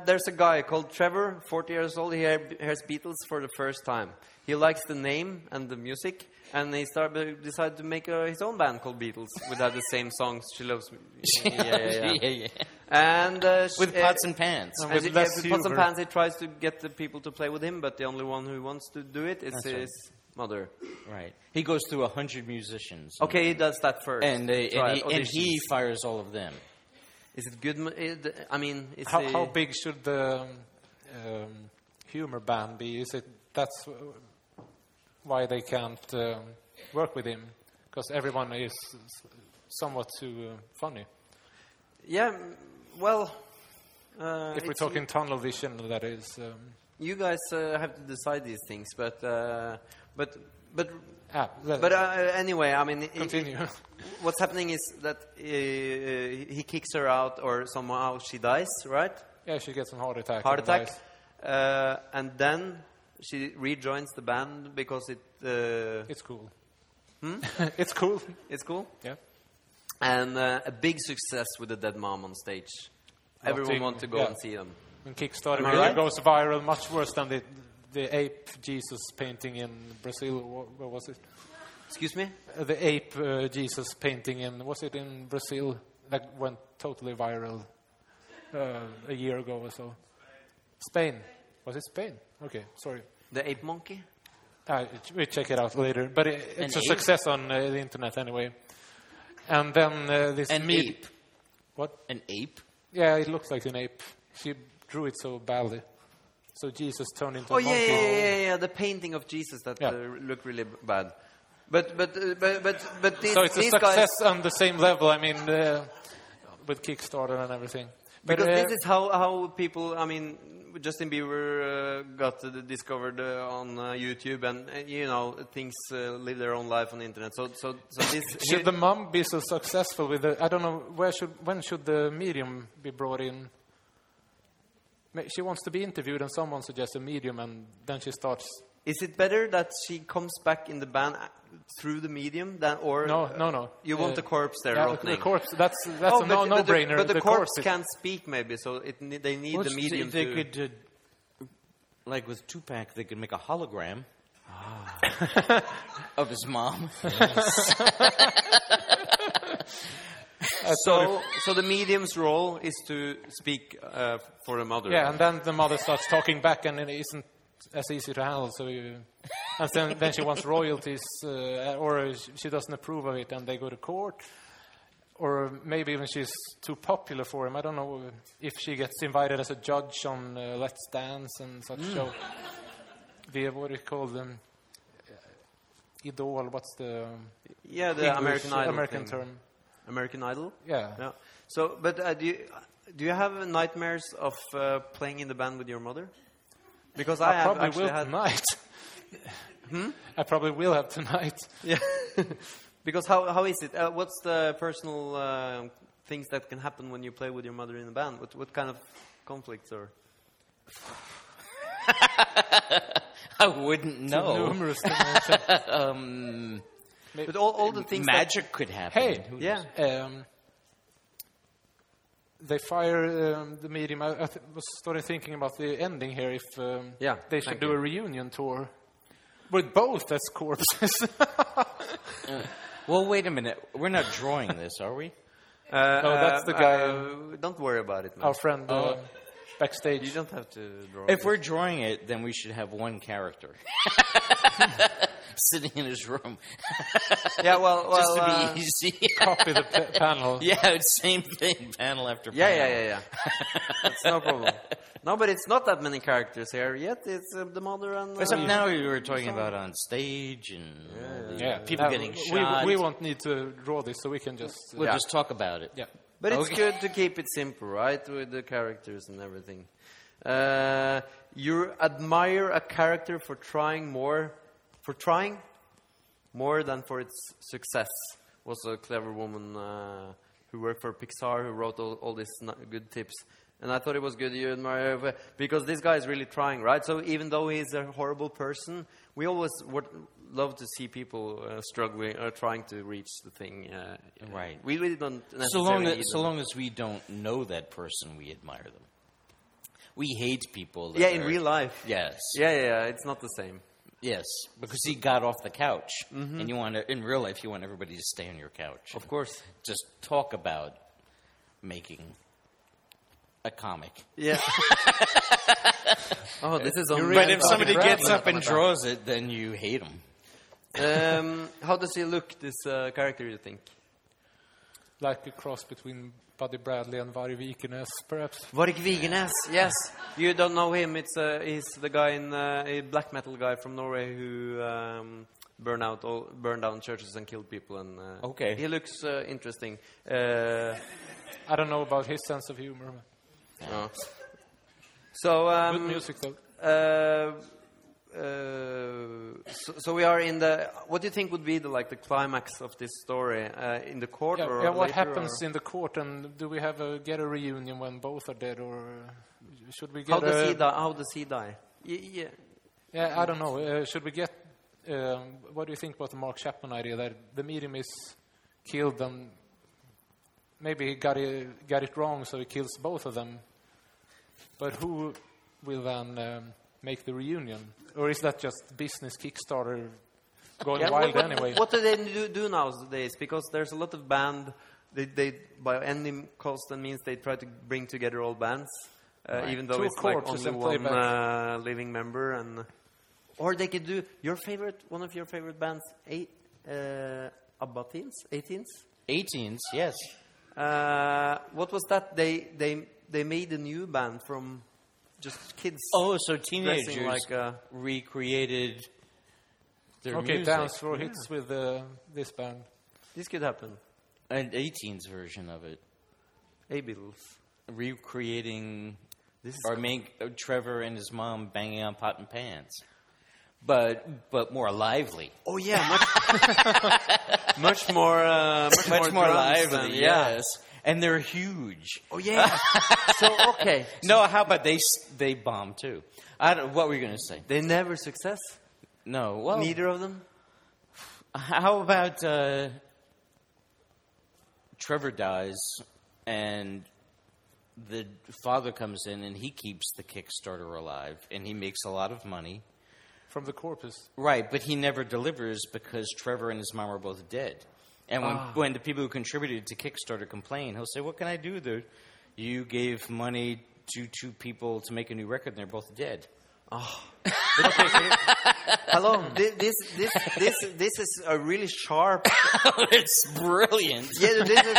Speaker 2: there's a guy called Trevor, 40 years old. He hear- hears Beatles for the first time. He likes the name and the music, and he started decided to make uh, his own band called Beatles without the same songs. She loves. Me. Yeah, yeah, yeah. And uh, sh-
Speaker 1: With
Speaker 2: uh,
Speaker 1: pots and pans.
Speaker 3: and
Speaker 2: and
Speaker 3: with
Speaker 2: he-
Speaker 3: less
Speaker 2: yeah, with pots and
Speaker 3: humor.
Speaker 2: pans, he tries to get the people to play with him, but the only one who wants to do it is
Speaker 1: That's right.
Speaker 2: his mother.
Speaker 1: Right. He goes through a hundred musicians.
Speaker 2: Okay, he does that first.
Speaker 1: And they and
Speaker 2: Try
Speaker 1: he, and
Speaker 2: auditions.
Speaker 1: he fires all of them.
Speaker 2: is it good? mo- eh, th- I mean, is
Speaker 3: How,
Speaker 2: the-
Speaker 3: how big should the um, um, humor ban be? Is it that's uh, why they can't um, work with him because everyone is s- somewhat too uh, funny.
Speaker 2: Yeah. mm, Well. Uh,
Speaker 3: If we're
Speaker 2: it's-
Speaker 3: talking tunnel vision, that is. Um,
Speaker 2: you guys uh, have to decide these things, but uh, but but
Speaker 3: ah, let-
Speaker 2: but uh, anyway, I mean, i-
Speaker 3: continue.
Speaker 2: what's happening is that uh, he kicks her out, or somehow she dies, right?
Speaker 3: yeah, she gets a heart attack.
Speaker 2: Heart
Speaker 3: and
Speaker 2: attack,
Speaker 3: dies.
Speaker 2: uh, and then she rejoins the band because it uh,
Speaker 3: It's cool.
Speaker 2: Hmm?
Speaker 3: it's cool.
Speaker 2: it's cool,
Speaker 3: Yeah.
Speaker 2: and uh, a big success with the Dead Mom on stage. Everyone
Speaker 3: Nothing,
Speaker 2: wants to go
Speaker 3: yeah.
Speaker 2: and see them.
Speaker 3: When Kickstarter
Speaker 2: Am I
Speaker 3: really
Speaker 2: right?
Speaker 3: goes viral, much worse than the the ape Jesus painting in Brazil. Wh- Where was it?
Speaker 2: Excuse me.
Speaker 3: Uh, the ape uh, Jesus painting in was it in Brazil that went totally viral uh, a year ago or so? Spain was it Spain? Okay, sorry.
Speaker 2: The ape monkey.
Speaker 3: Uh, we check it out later, but it, it's
Speaker 1: An
Speaker 3: a
Speaker 1: ape?
Speaker 3: success on uh, the internet anyway. And then uh, this
Speaker 1: An
Speaker 3: med-
Speaker 1: ape.
Speaker 3: What?
Speaker 1: An ape?
Speaker 3: Yeah, it looks like an ape. She drew it so badly, so Jesus turned into
Speaker 2: Oh
Speaker 3: a
Speaker 2: yeah,
Speaker 3: monkey.
Speaker 2: yeah, yeah, yeah, yeah, the painting of Jesus that
Speaker 3: Yeah.
Speaker 2: uh, looked really b- bad. But but uh, but but but these,
Speaker 3: So it's a
Speaker 2: these
Speaker 3: success
Speaker 2: guys
Speaker 3: on the same level. I mean, uh, with Kickstarter and everything. But,
Speaker 2: because
Speaker 3: uh,
Speaker 2: this is how how people. I mean, Justin Bieber uh, got uh, discovered uh, on uh, YouTube, and uh, you know things uh, live their own life on the internet. So so so this.
Speaker 3: Should the mum be so successful with the? I don't know where should when should the medium be brought in? Ma- She wants to be interviewed, and someone suggests a medium, and then she starts.
Speaker 2: is it better that she comes back in the band uh, through the medium than or
Speaker 3: No, no, no.
Speaker 2: You want
Speaker 3: Uh,
Speaker 2: the corpse there
Speaker 3: yeah,
Speaker 2: rotting.
Speaker 3: the corpse. That's that's
Speaker 2: Oh, but,
Speaker 3: a no no
Speaker 2: but the-
Speaker 3: brainer.
Speaker 2: But the, corpse
Speaker 3: is-
Speaker 2: can't speak, maybe, so it, ne- they need the medium.
Speaker 1: they
Speaker 2: to,
Speaker 1: could, uh, like with Tupac, they could make a hologram
Speaker 2: Ah.
Speaker 1: of his mom.
Speaker 2: So, so the medium's role is to speak uh, for the mother.
Speaker 3: Yeah, and then the mother starts talking back, and it isn't as easy to handle. So, you, and then, then she wants royalties, uh, or sh- she doesn't approve of it, and they go to court. Or maybe even she's too popular for him. I don't know if she gets invited as a judge on uh, Let's Dance and such show. The what do you call them? Idol. What's the um,
Speaker 2: yeah, the
Speaker 3: English-
Speaker 2: American Idol.
Speaker 3: American
Speaker 2: thing.
Speaker 3: term?
Speaker 2: American Idol.
Speaker 3: Yeah.
Speaker 2: Yeah. So, but uh, do you do you have nightmares of uh, playing in the band with your mother? Because I,
Speaker 3: I,
Speaker 2: have
Speaker 3: probably
Speaker 2: actually
Speaker 3: will
Speaker 2: had. Hmm?
Speaker 3: tonight. I probably will have tonight.
Speaker 2: Yeah. because how how is it? Uh, what's the personal uh, things that can happen when you play with your mother in a band? What what kind of conflicts or?
Speaker 1: I wouldn't know.
Speaker 3: Numerous dimensions.
Speaker 1: Um,
Speaker 2: But all, all the things. that-
Speaker 1: magic could happen.
Speaker 3: Hey,
Speaker 1: Who
Speaker 2: yeah.
Speaker 1: knows?
Speaker 3: um, they fire um, the medium. I, I th- was started thinking about the ending here. If um,
Speaker 2: Yeah,
Speaker 3: they should
Speaker 2: thank
Speaker 3: do
Speaker 2: you.
Speaker 3: a reunion tour with both as corpses.
Speaker 1: Well, wait a minute. We're not drawing this, are we?
Speaker 2: Uh,
Speaker 3: No, that's the guy-
Speaker 2: Uh, don't worry about it, man.
Speaker 3: Our friend uh,
Speaker 1: Oh.
Speaker 2: you
Speaker 3: backstage.
Speaker 2: don't have to draw.
Speaker 1: If we're drawing it, then we should have one character sitting in his room
Speaker 2: yeah, well, well
Speaker 1: just
Speaker 2: uh,
Speaker 1: to be easy.
Speaker 3: Copy the pa- panel.
Speaker 1: yeah, same thing. Panel after
Speaker 2: Yeah,
Speaker 1: panel.
Speaker 2: yeah, yeah, yeah. That's no problem. No, but it's not that many characters here yet. It's uh, the mother and. Uh,
Speaker 1: Except now we were talking about on stage and all the
Speaker 3: Yeah,
Speaker 1: people
Speaker 3: Now,
Speaker 1: getting
Speaker 3: we,
Speaker 1: shot.
Speaker 3: We won't need to draw this, so we can just. uh,
Speaker 1: We'll
Speaker 2: Yeah.
Speaker 1: just talk about it.
Speaker 3: yeah.
Speaker 2: But it's
Speaker 1: Okay.
Speaker 2: good to keep it simple, right? With the characters and everything. Uh, you admire a character for trying more, for trying more than for its success. Was a clever woman uh, who worked for Pixar who wrote all, all these n- good tips. And I thought it was good you admire her, because this guy is really trying, right? So even though he's a horrible person, we always would love to see people uh, struggling or trying to reach the thing. Uh,
Speaker 1: Right.
Speaker 2: We really don't
Speaker 1: So long,
Speaker 2: necessarily need
Speaker 1: as, so
Speaker 2: them.
Speaker 1: long as we don't know that person, we admire them. We hate people. That
Speaker 2: Yeah, in
Speaker 1: are-
Speaker 2: real life.
Speaker 1: Yes.
Speaker 2: Yeah, yeah, yeah, it's not the same.
Speaker 1: Yes. Because he got off the couch, and you want to, in real life, you want everybody to stay on your couch.
Speaker 2: Of course.
Speaker 1: Just talk about making a comic.
Speaker 2: Yeah. oh, this is on.
Speaker 1: But if
Speaker 2: Oh,
Speaker 1: somebody
Speaker 2: crap.
Speaker 1: gets up and draws it, then you hate them.
Speaker 2: um, how does he look? This uh, character, you think?
Speaker 3: Like a cross between Buddy Bradley and Varg Vikernes, perhaps.
Speaker 2: Varg Vigernes, yes. You don't know him. It's uh, he's the guy in uh, a black metal guy from Norway who um, burned out all, burned down churches and killed people. And uh,
Speaker 1: Okay.
Speaker 2: he looks uh, interesting. Uh,
Speaker 3: I don't know about his sense of humor.
Speaker 2: oh. So um,
Speaker 3: Good music, though.
Speaker 2: uh, so, so we are in the. What do you think would be the like the climax of this story uh, in the court
Speaker 3: Yeah,
Speaker 2: or
Speaker 3: yeah, what
Speaker 2: later,
Speaker 3: happens
Speaker 2: or-
Speaker 3: in the court, and do we have a get a reunion when both are dead, or uh, should we get?
Speaker 2: how does
Speaker 3: a,
Speaker 2: he die? How does he die? Y- yeah.
Speaker 3: Yeah, I don't know. Uh, should we get? Um, what do you think about the Mark Chapman idea that the medium is killed and maybe he got it, got it wrong, so he kills both of them. But who will then um, make the reunion, or is that just business Kickstarter going
Speaker 2: Yeah,
Speaker 3: wild
Speaker 2: what, what-
Speaker 3: anyway?
Speaker 2: What do they do, do nowadays? Because there's a lot of band. They, they by any cost and means they try to bring together all bands, uh, even though
Speaker 3: Two
Speaker 2: it's like only
Speaker 3: corpses and play
Speaker 2: one uh, living member. And or they could do your favorite, one of your favorite bands, eight, uh, Abbateens, Eighteens.
Speaker 1: 18s, yes.
Speaker 2: Uh, what was that? They they they made a new band from just kids.
Speaker 1: Oh, so
Speaker 2: Dressing
Speaker 1: teenagers
Speaker 2: like a-
Speaker 1: recreated their
Speaker 3: okay,
Speaker 1: music.
Speaker 3: dance for hits with uh, this band.
Speaker 2: This could happen.
Speaker 1: An 18s version of it.
Speaker 2: A Beatles.
Speaker 1: recreating
Speaker 2: This is
Speaker 1: or main uh, Trevor and his mom banging on pot and pans, but but more lively,
Speaker 2: Oh yeah, much, much more, uh, much,
Speaker 1: much more,
Speaker 2: drums
Speaker 1: lively.
Speaker 2: than-
Speaker 1: yes, and they're huge.
Speaker 2: Oh yeah. so okay,
Speaker 1: No, how about they s- they bomb too? I don't, what were you going to say?
Speaker 2: they never success.
Speaker 1: No, well,
Speaker 2: Neither of them.
Speaker 1: How about uh, Trevor dies and the father comes in and he keeps the Kickstarter alive and he makes a lot of money.
Speaker 3: From the corpus.
Speaker 1: Right, but he never delivers because Trevor and his mom are both dead. And when, when the people who contributed to Kickstarter complain, he'll say, What can I do? Dude? You gave money to two people to make a new record and they're both dead.
Speaker 2: Hello. Thi- this this this this is a really sharp.
Speaker 1: it's brilliant.
Speaker 2: Yeah, this is.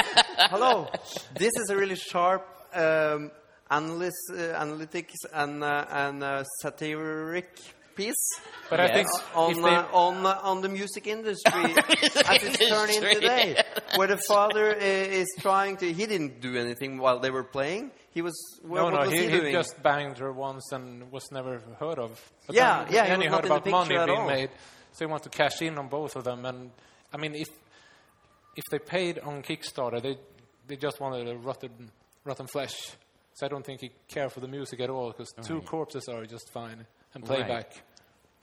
Speaker 2: Hello. This is a really sharp um, analysis, uh, analytics, and uh, and uh, satiric piece.
Speaker 3: But I
Speaker 1: Yes.
Speaker 3: think
Speaker 2: on
Speaker 3: if they,
Speaker 2: uh, on uh, on the music industry as it's turning
Speaker 1: Industry.
Speaker 2: today, where the father i- is trying to. He didn't do anything while they were playing. He was. Well,
Speaker 3: no,
Speaker 2: what
Speaker 3: no,
Speaker 2: was
Speaker 3: he,
Speaker 2: he,
Speaker 3: he
Speaker 2: doing?
Speaker 3: just banged her once and was never heard of. But
Speaker 2: Yeah,
Speaker 3: then,
Speaker 2: yeah, he
Speaker 3: Then
Speaker 2: was
Speaker 3: he
Speaker 2: not in the
Speaker 3: heard about money
Speaker 2: picture at
Speaker 3: being
Speaker 2: all.
Speaker 3: made, so he wanted to cash in on both of them. And I mean, if if they paid on Kickstarter, they they just wanted a rotten rotten flesh. So I don't think he cared for the music at all because two corpses are just fine and
Speaker 1: Right.
Speaker 3: playback.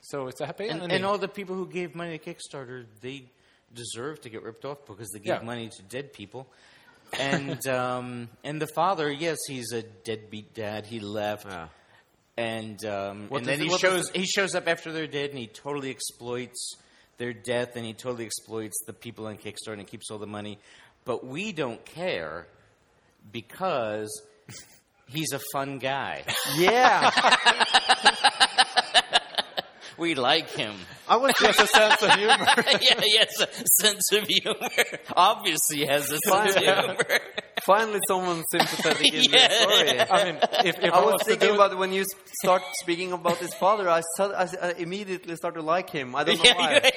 Speaker 3: So it's a happy
Speaker 1: And,
Speaker 3: ending.
Speaker 1: and all the people who gave money to Kickstarter, they deserve to get ripped off because they gave
Speaker 3: Yeah.
Speaker 1: money to dead people. And um, and the father, yes, he's a deadbeat dad. He left, and um,
Speaker 2: What
Speaker 1: and
Speaker 2: does
Speaker 1: then
Speaker 2: it-
Speaker 1: he
Speaker 2: what does
Speaker 1: shows he shows up after they're dead, and he totally exploits their death, and he totally exploits the people on Kickstarter, and he keeps all the money. But we don't care because he's a fun guy.
Speaker 2: yeah.
Speaker 1: we like him.
Speaker 2: I was just a sense of humor.
Speaker 1: yeah, he has a sense of humor. Obviously, he has a sense of humor.
Speaker 2: Finally, someone sympathetic in
Speaker 1: Yeah.
Speaker 2: this story.
Speaker 3: I mean, if, if
Speaker 2: I
Speaker 3: I
Speaker 2: was
Speaker 3: to
Speaker 2: thinking
Speaker 3: do-
Speaker 2: about when you s- start speaking about his father, I, su- I s- I immediately start to like him. I don't know why.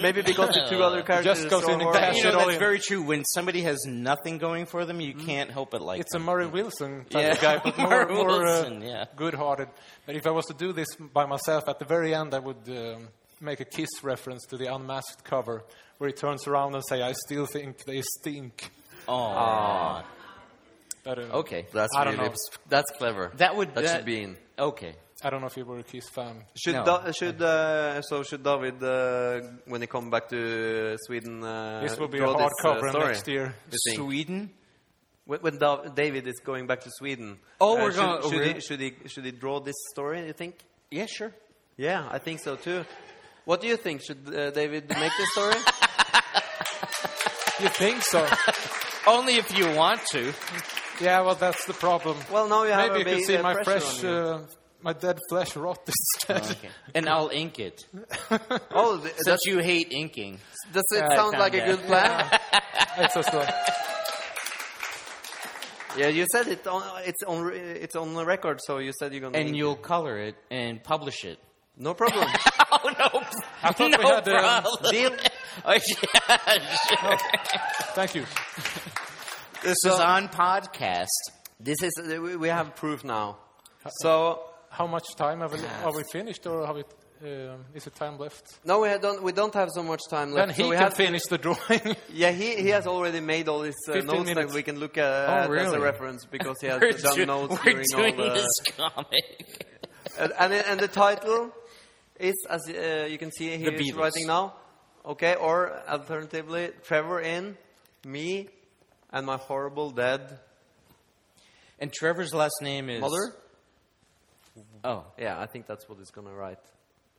Speaker 2: Maybe because the two other characters
Speaker 3: just goes
Speaker 2: are
Speaker 3: in and
Speaker 2: horrible.
Speaker 3: dashes
Speaker 1: you
Speaker 3: it
Speaker 1: know,
Speaker 3: all
Speaker 1: that's
Speaker 3: in.
Speaker 1: very true. When somebody has nothing going for them, you can't help but like
Speaker 3: It's a
Speaker 1: them.
Speaker 3: Murray Wilson type
Speaker 1: Yeah,
Speaker 3: of guy, but more,
Speaker 1: Murray
Speaker 3: more
Speaker 1: Wilson,
Speaker 3: uh,
Speaker 1: yeah.
Speaker 3: good-hearted. But if I was to do this by myself, at the very end, I would um, make a kiss reference to the unmasked cover, where he turns around and say, "I still think they stink."
Speaker 1: Aw.
Speaker 3: But, uh,
Speaker 2: Okay, that's
Speaker 3: I don't
Speaker 2: really-
Speaker 3: know.
Speaker 2: that's clever.
Speaker 1: That would
Speaker 2: that, should be in.
Speaker 1: Okay.
Speaker 3: I don't know if you were a Kiss fan.
Speaker 2: Should
Speaker 1: No.
Speaker 2: da- should uh, so should David uh, when he come back to Sweden? Uh,
Speaker 3: This will be a
Speaker 2: draw this, uh,
Speaker 3: hardcover
Speaker 2: story?
Speaker 3: next year.
Speaker 2: You think?
Speaker 1: Sweden?
Speaker 2: When, when Da- David is going back to Sweden.
Speaker 1: Oh, we're
Speaker 2: should,
Speaker 1: going- oh,
Speaker 2: Should,
Speaker 1: really?
Speaker 2: he, should he should he draw this story? You think?
Speaker 1: Yeah, sure.
Speaker 2: Yeah, I think so too. What do you think? Should uh, David make this story?
Speaker 3: You think so?
Speaker 1: Only if you want to.
Speaker 3: yeah. Well, that's the problem.
Speaker 2: well, now you have
Speaker 3: Maybe
Speaker 2: a
Speaker 3: you
Speaker 2: big
Speaker 3: can see
Speaker 2: uh,
Speaker 3: my
Speaker 2: pressure
Speaker 3: fresh,
Speaker 2: on you.
Speaker 3: uh, my dead flesh rot instead.
Speaker 1: And I'll ink it.
Speaker 3: uh,
Speaker 2: oh, th- does,
Speaker 1: Since you hate inking.
Speaker 2: does it
Speaker 1: I
Speaker 2: sound
Speaker 1: found
Speaker 2: like a
Speaker 1: that.
Speaker 2: good plan?
Speaker 3: it's just uh, like,
Speaker 2: Yeah, you said it. On, it's on. re- It's on the record. So you said you're gonna.
Speaker 1: And you'll color it and publish it.
Speaker 2: no problem.
Speaker 1: oh, no. I
Speaker 3: thought we had, um,
Speaker 2: Deal.
Speaker 1: Oh,
Speaker 3: thank you.
Speaker 1: This is on podcast.
Speaker 2: This is. uh, we- We have proof now. So
Speaker 3: How much time have we, are we finished, or have it, um is it time left?
Speaker 2: no, we had don't. We don't have so much time left.
Speaker 3: Then he
Speaker 2: so we
Speaker 3: can
Speaker 2: have to-
Speaker 3: finish the drawing.
Speaker 2: Yeah, he, he has already made all these uh,
Speaker 3: 15
Speaker 2: notes
Speaker 3: minutes.
Speaker 2: that we can look at at as
Speaker 1: Oh, really?
Speaker 2: a reference because he has
Speaker 1: We're,
Speaker 2: done
Speaker 1: do-
Speaker 2: notes
Speaker 1: we're
Speaker 2: during
Speaker 1: doing
Speaker 2: all the
Speaker 1: this comic.
Speaker 2: and, and and the title is as uh, you can see
Speaker 1: The
Speaker 2: here he's
Speaker 1: Beatles.
Speaker 2: writing now. Okay, or alternatively, Trevor in me and my horrible dead
Speaker 1: And Trevor's last name is.
Speaker 2: mother.
Speaker 1: Oh.
Speaker 2: Yeah, I think that's what he's gonna write.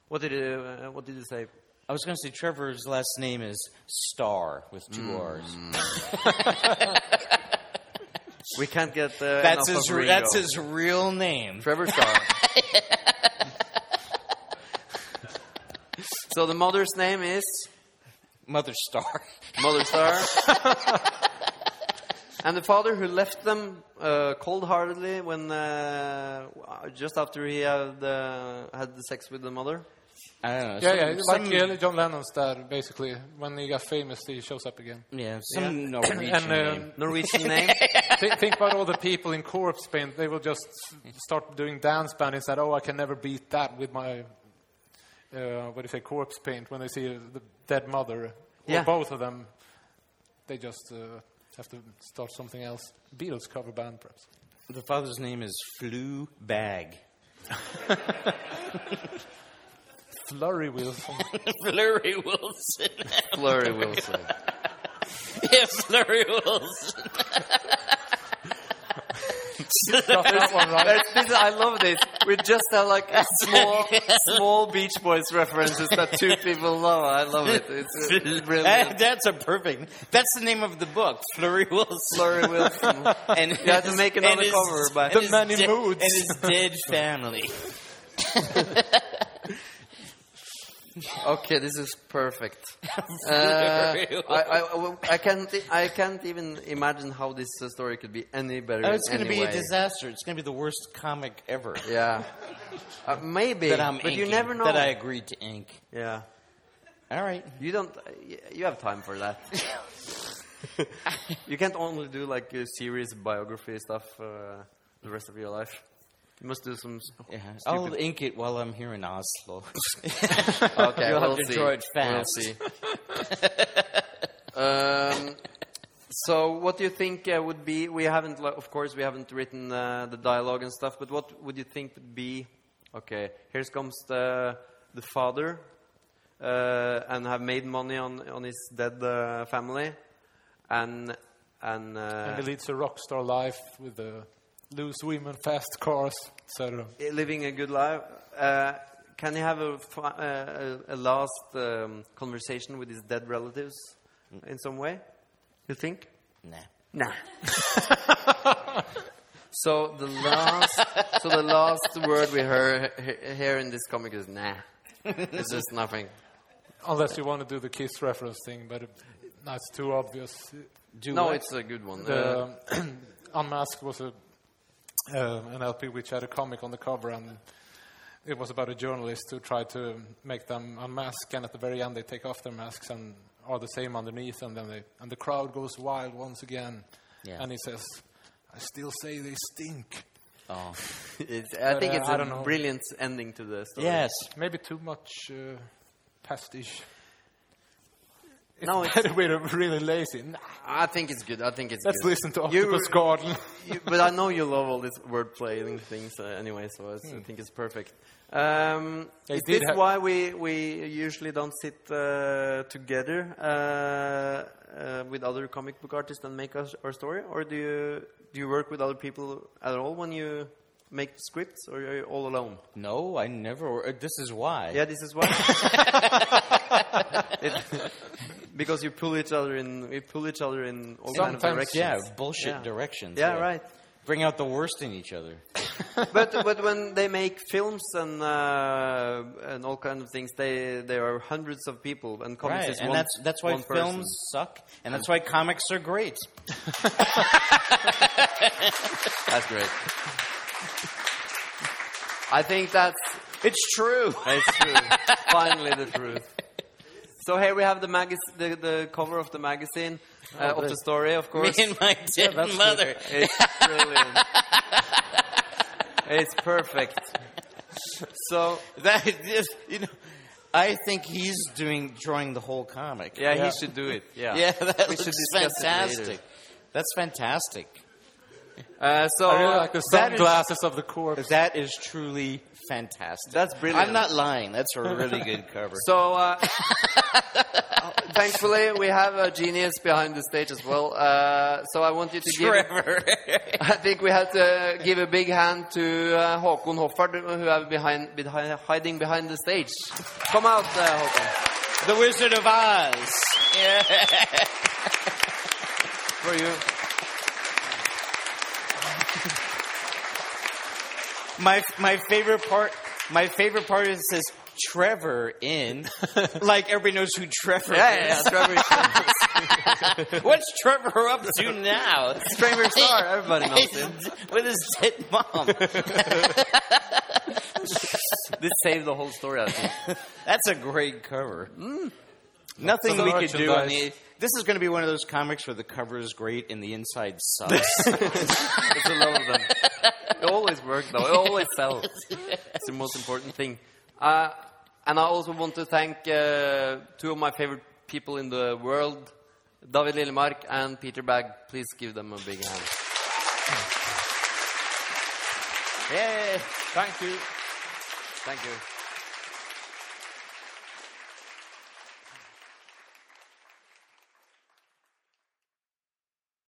Speaker 2: What did you, uh, what did you say?
Speaker 1: I was going to say Trevor's last name is Star with two
Speaker 2: Hmm.
Speaker 1: R's.
Speaker 2: We can't get uh,
Speaker 1: That's
Speaker 2: enough
Speaker 1: his.
Speaker 2: Of
Speaker 1: re-
Speaker 2: Ringo.
Speaker 1: That's his real name.
Speaker 2: Trevor Star. so the mother's name is.
Speaker 1: Mother Star.
Speaker 2: Mother Star. and the father who left them uh, cold-heartedly when uh, just after he had uh, had the sex with the mother.
Speaker 1: I don't know.
Speaker 3: yeah, yeah.
Speaker 1: some-
Speaker 3: Like uh, John Lennon's dad, basically. When he got famous, he shows up again.
Speaker 1: yeah,
Speaker 2: Mm.
Speaker 1: some
Speaker 2: Yeah.
Speaker 1: Norwegian
Speaker 3: And
Speaker 2: uh,
Speaker 1: name.
Speaker 3: um,
Speaker 2: Norwegian name.
Speaker 3: thi- think about all the people in corpse paint. They will just start doing dance band instead. Oh, I can never beat that with my. Uh, what do you say, corpse paint? When they see uh, the dead mother, or
Speaker 2: Yeah.
Speaker 3: both of them, they just uh, have to start something else. Beatles cover band, perhaps.
Speaker 1: The father's name is Flew Bag.
Speaker 3: Flurry Wilson.
Speaker 1: Flurry Wilson.
Speaker 2: Flurry Wilson.
Speaker 1: yeah, Flurry Wilson.
Speaker 3: Got that one right.
Speaker 2: That's- this is- I love this. We just have like a small, small Beach Boys references that two people love. I love it. It's uh,
Speaker 1: That-
Speaker 2: brilliant.
Speaker 1: that's a perfect. That's the name of the book, Flurry Wilson.
Speaker 2: Flurry Wilson.
Speaker 1: And
Speaker 2: You have to
Speaker 1: his-
Speaker 2: make
Speaker 1: and
Speaker 2: another
Speaker 1: his-
Speaker 2: cover, but
Speaker 1: and his
Speaker 3: many
Speaker 1: de-
Speaker 3: moods.
Speaker 1: and his dead family.
Speaker 2: Okay, this is perfect. Uh, I, I, I can't. I can't even imagine how this uh, story could be any better.
Speaker 1: Oh, it's
Speaker 2: going to
Speaker 1: be a disaster. It's going to be the worst comic ever
Speaker 2: Yeah, uh, maybe.
Speaker 1: that I'm
Speaker 2: but you
Speaker 1: inking,
Speaker 2: never know.
Speaker 1: that I agreed to ink.
Speaker 2: Yeah,
Speaker 1: All right.
Speaker 2: you don't. You have time for that. you can't only do like a serious biography stuff uh, the rest of your life. You must do some. s-
Speaker 1: Yeah. I'll
Speaker 2: Stupid.
Speaker 1: ink it while I'm here in Oslo.
Speaker 2: Okay,
Speaker 1: You'll have
Speaker 2: we'll
Speaker 1: to
Speaker 2: see.
Speaker 1: draw it fast.
Speaker 2: We'll see. um, so, what do you think uh, would be? We haven't, li- of course, we haven't written uh, the dialogue and stuff. But what would you think would be? Okay, here comes the the father, uh, and have made money on on his dead uh, family, and and. Uh,
Speaker 3: And he leads a rock star life with the loose women, fast cars, etc.
Speaker 2: eh, living a good life. Uh, can he have a, fi- uh, a, a last um, conversation with his dead relatives in some way? You think?
Speaker 1: Mm. Nah.
Speaker 2: Nah. so the last, so the last word we hear he- here in this comic is nah. It's just nothing.
Speaker 3: Unless you want to do the kiss reference thing, but it, that's too obvious.
Speaker 1: Do
Speaker 2: No,
Speaker 1: what?
Speaker 2: it's a good one. Uh,
Speaker 3: The Unmasked was a um an LP which had a comic on the cover, and it was about a journalist who tried to make them unmask, and at the very end they take off their masks and are the same underneath, and then they and the crowd goes wild once again,
Speaker 1: Yeah.
Speaker 3: and he says, "I still say they stink."
Speaker 1: oh.
Speaker 2: it's, I think
Speaker 3: uh,
Speaker 2: it's
Speaker 3: I
Speaker 2: a
Speaker 3: don't know.
Speaker 2: brilliant ending to the story.
Speaker 1: yes.
Speaker 3: Maybe too much uh, pastiche.
Speaker 2: No, it's,
Speaker 3: We're really lazy. Nah,
Speaker 2: I think it's good. I think it's
Speaker 3: let's
Speaker 2: good.
Speaker 3: listen to
Speaker 2: You-
Speaker 3: Octopus Garden.
Speaker 2: you, but I know you love all this wordplay and things uh, anyway, so I s- think it's perfect. Um,
Speaker 3: Hmm. They
Speaker 2: is
Speaker 3: did
Speaker 2: this
Speaker 3: have-
Speaker 2: why we, we usually don't sit uh, together uh, uh, with other comic book artists and make us our story, or do you do you work with other people at all when you make scripts, or are you all alone?
Speaker 1: No, I never. uh, This is why.
Speaker 2: Yeah, this is why. It- because you pull each other in, we pull each other in all kind of
Speaker 3: Sometimes,
Speaker 2: directions.
Speaker 1: Yeah, bullshit
Speaker 2: Yeah.
Speaker 1: directions.
Speaker 2: Yeah, right.
Speaker 1: Bring out the worst in each other.
Speaker 2: but but when they make films and uh, and all kind of things, they there are hundreds of people and comics
Speaker 1: Right,
Speaker 2: is
Speaker 1: and
Speaker 2: one,
Speaker 1: that's that's why
Speaker 2: one
Speaker 1: films
Speaker 2: person.
Speaker 1: suck, and that's why comics are great.
Speaker 2: That's great. I think that's
Speaker 1: It's true.
Speaker 2: that's true. Finally, the truth. So here we have the magaz- the, the cover of the magazine uh, of the story, of
Speaker 1: Oh, Me
Speaker 2: course.
Speaker 1: and my dead
Speaker 3: that's
Speaker 1: mother.
Speaker 2: It's brilliant. it's perfect. So
Speaker 1: That is, you know, I think he's doing drawing the whole comic.
Speaker 2: yeah,
Speaker 3: Yeah.
Speaker 2: he should do it.
Speaker 1: yeah,
Speaker 2: Yeah,
Speaker 1: that
Speaker 2: We should
Speaker 1: looks
Speaker 2: discuss it later.
Speaker 1: fantastic. That's fantastic.
Speaker 2: Uh, so
Speaker 3: I really like the
Speaker 1: that is-
Speaker 3: sunglasses of the corpse.
Speaker 1: That is truly fantastic.
Speaker 2: That's brilliant.
Speaker 1: I'm not lying. That's a really good cover.
Speaker 2: So, uh, thankfully, we have a genius behind the stage as well. Uh, so I want you to give.
Speaker 1: Trevor.
Speaker 2: I think we have to give a big hand to uh, Håkon Hoffard, who are behind, behind hiding behind the stage. Come out, uh, Håkon,
Speaker 1: the Wizard of Oz. Yeah.
Speaker 2: for you.
Speaker 1: My my favorite part. My favorite part is it says Trevor in, like everybody knows who Trevor
Speaker 2: Yeah,
Speaker 1: is.
Speaker 2: yeah, Trevor,
Speaker 1: What's Trevor up to now?
Speaker 2: Trevor Star. Everybody knows him.
Speaker 1: With his dead mom.
Speaker 2: This saved the whole story. I think.
Speaker 1: That's a great cover.
Speaker 2: Mm.
Speaker 1: Nothing
Speaker 3: So
Speaker 1: we could do on the.
Speaker 3: merchandise.
Speaker 1: This is going to be one of those comics where the cover is great and the inside sucks.
Speaker 2: It's a lot of them. It always works though. It always sells. It's the most important thing. Uh, and I also want to thank uh, two of my favorite people in the world, David Lillemark and Peter Bagg. Please give them a big hand.
Speaker 1: yeah.
Speaker 3: Thank you.
Speaker 2: Thank you.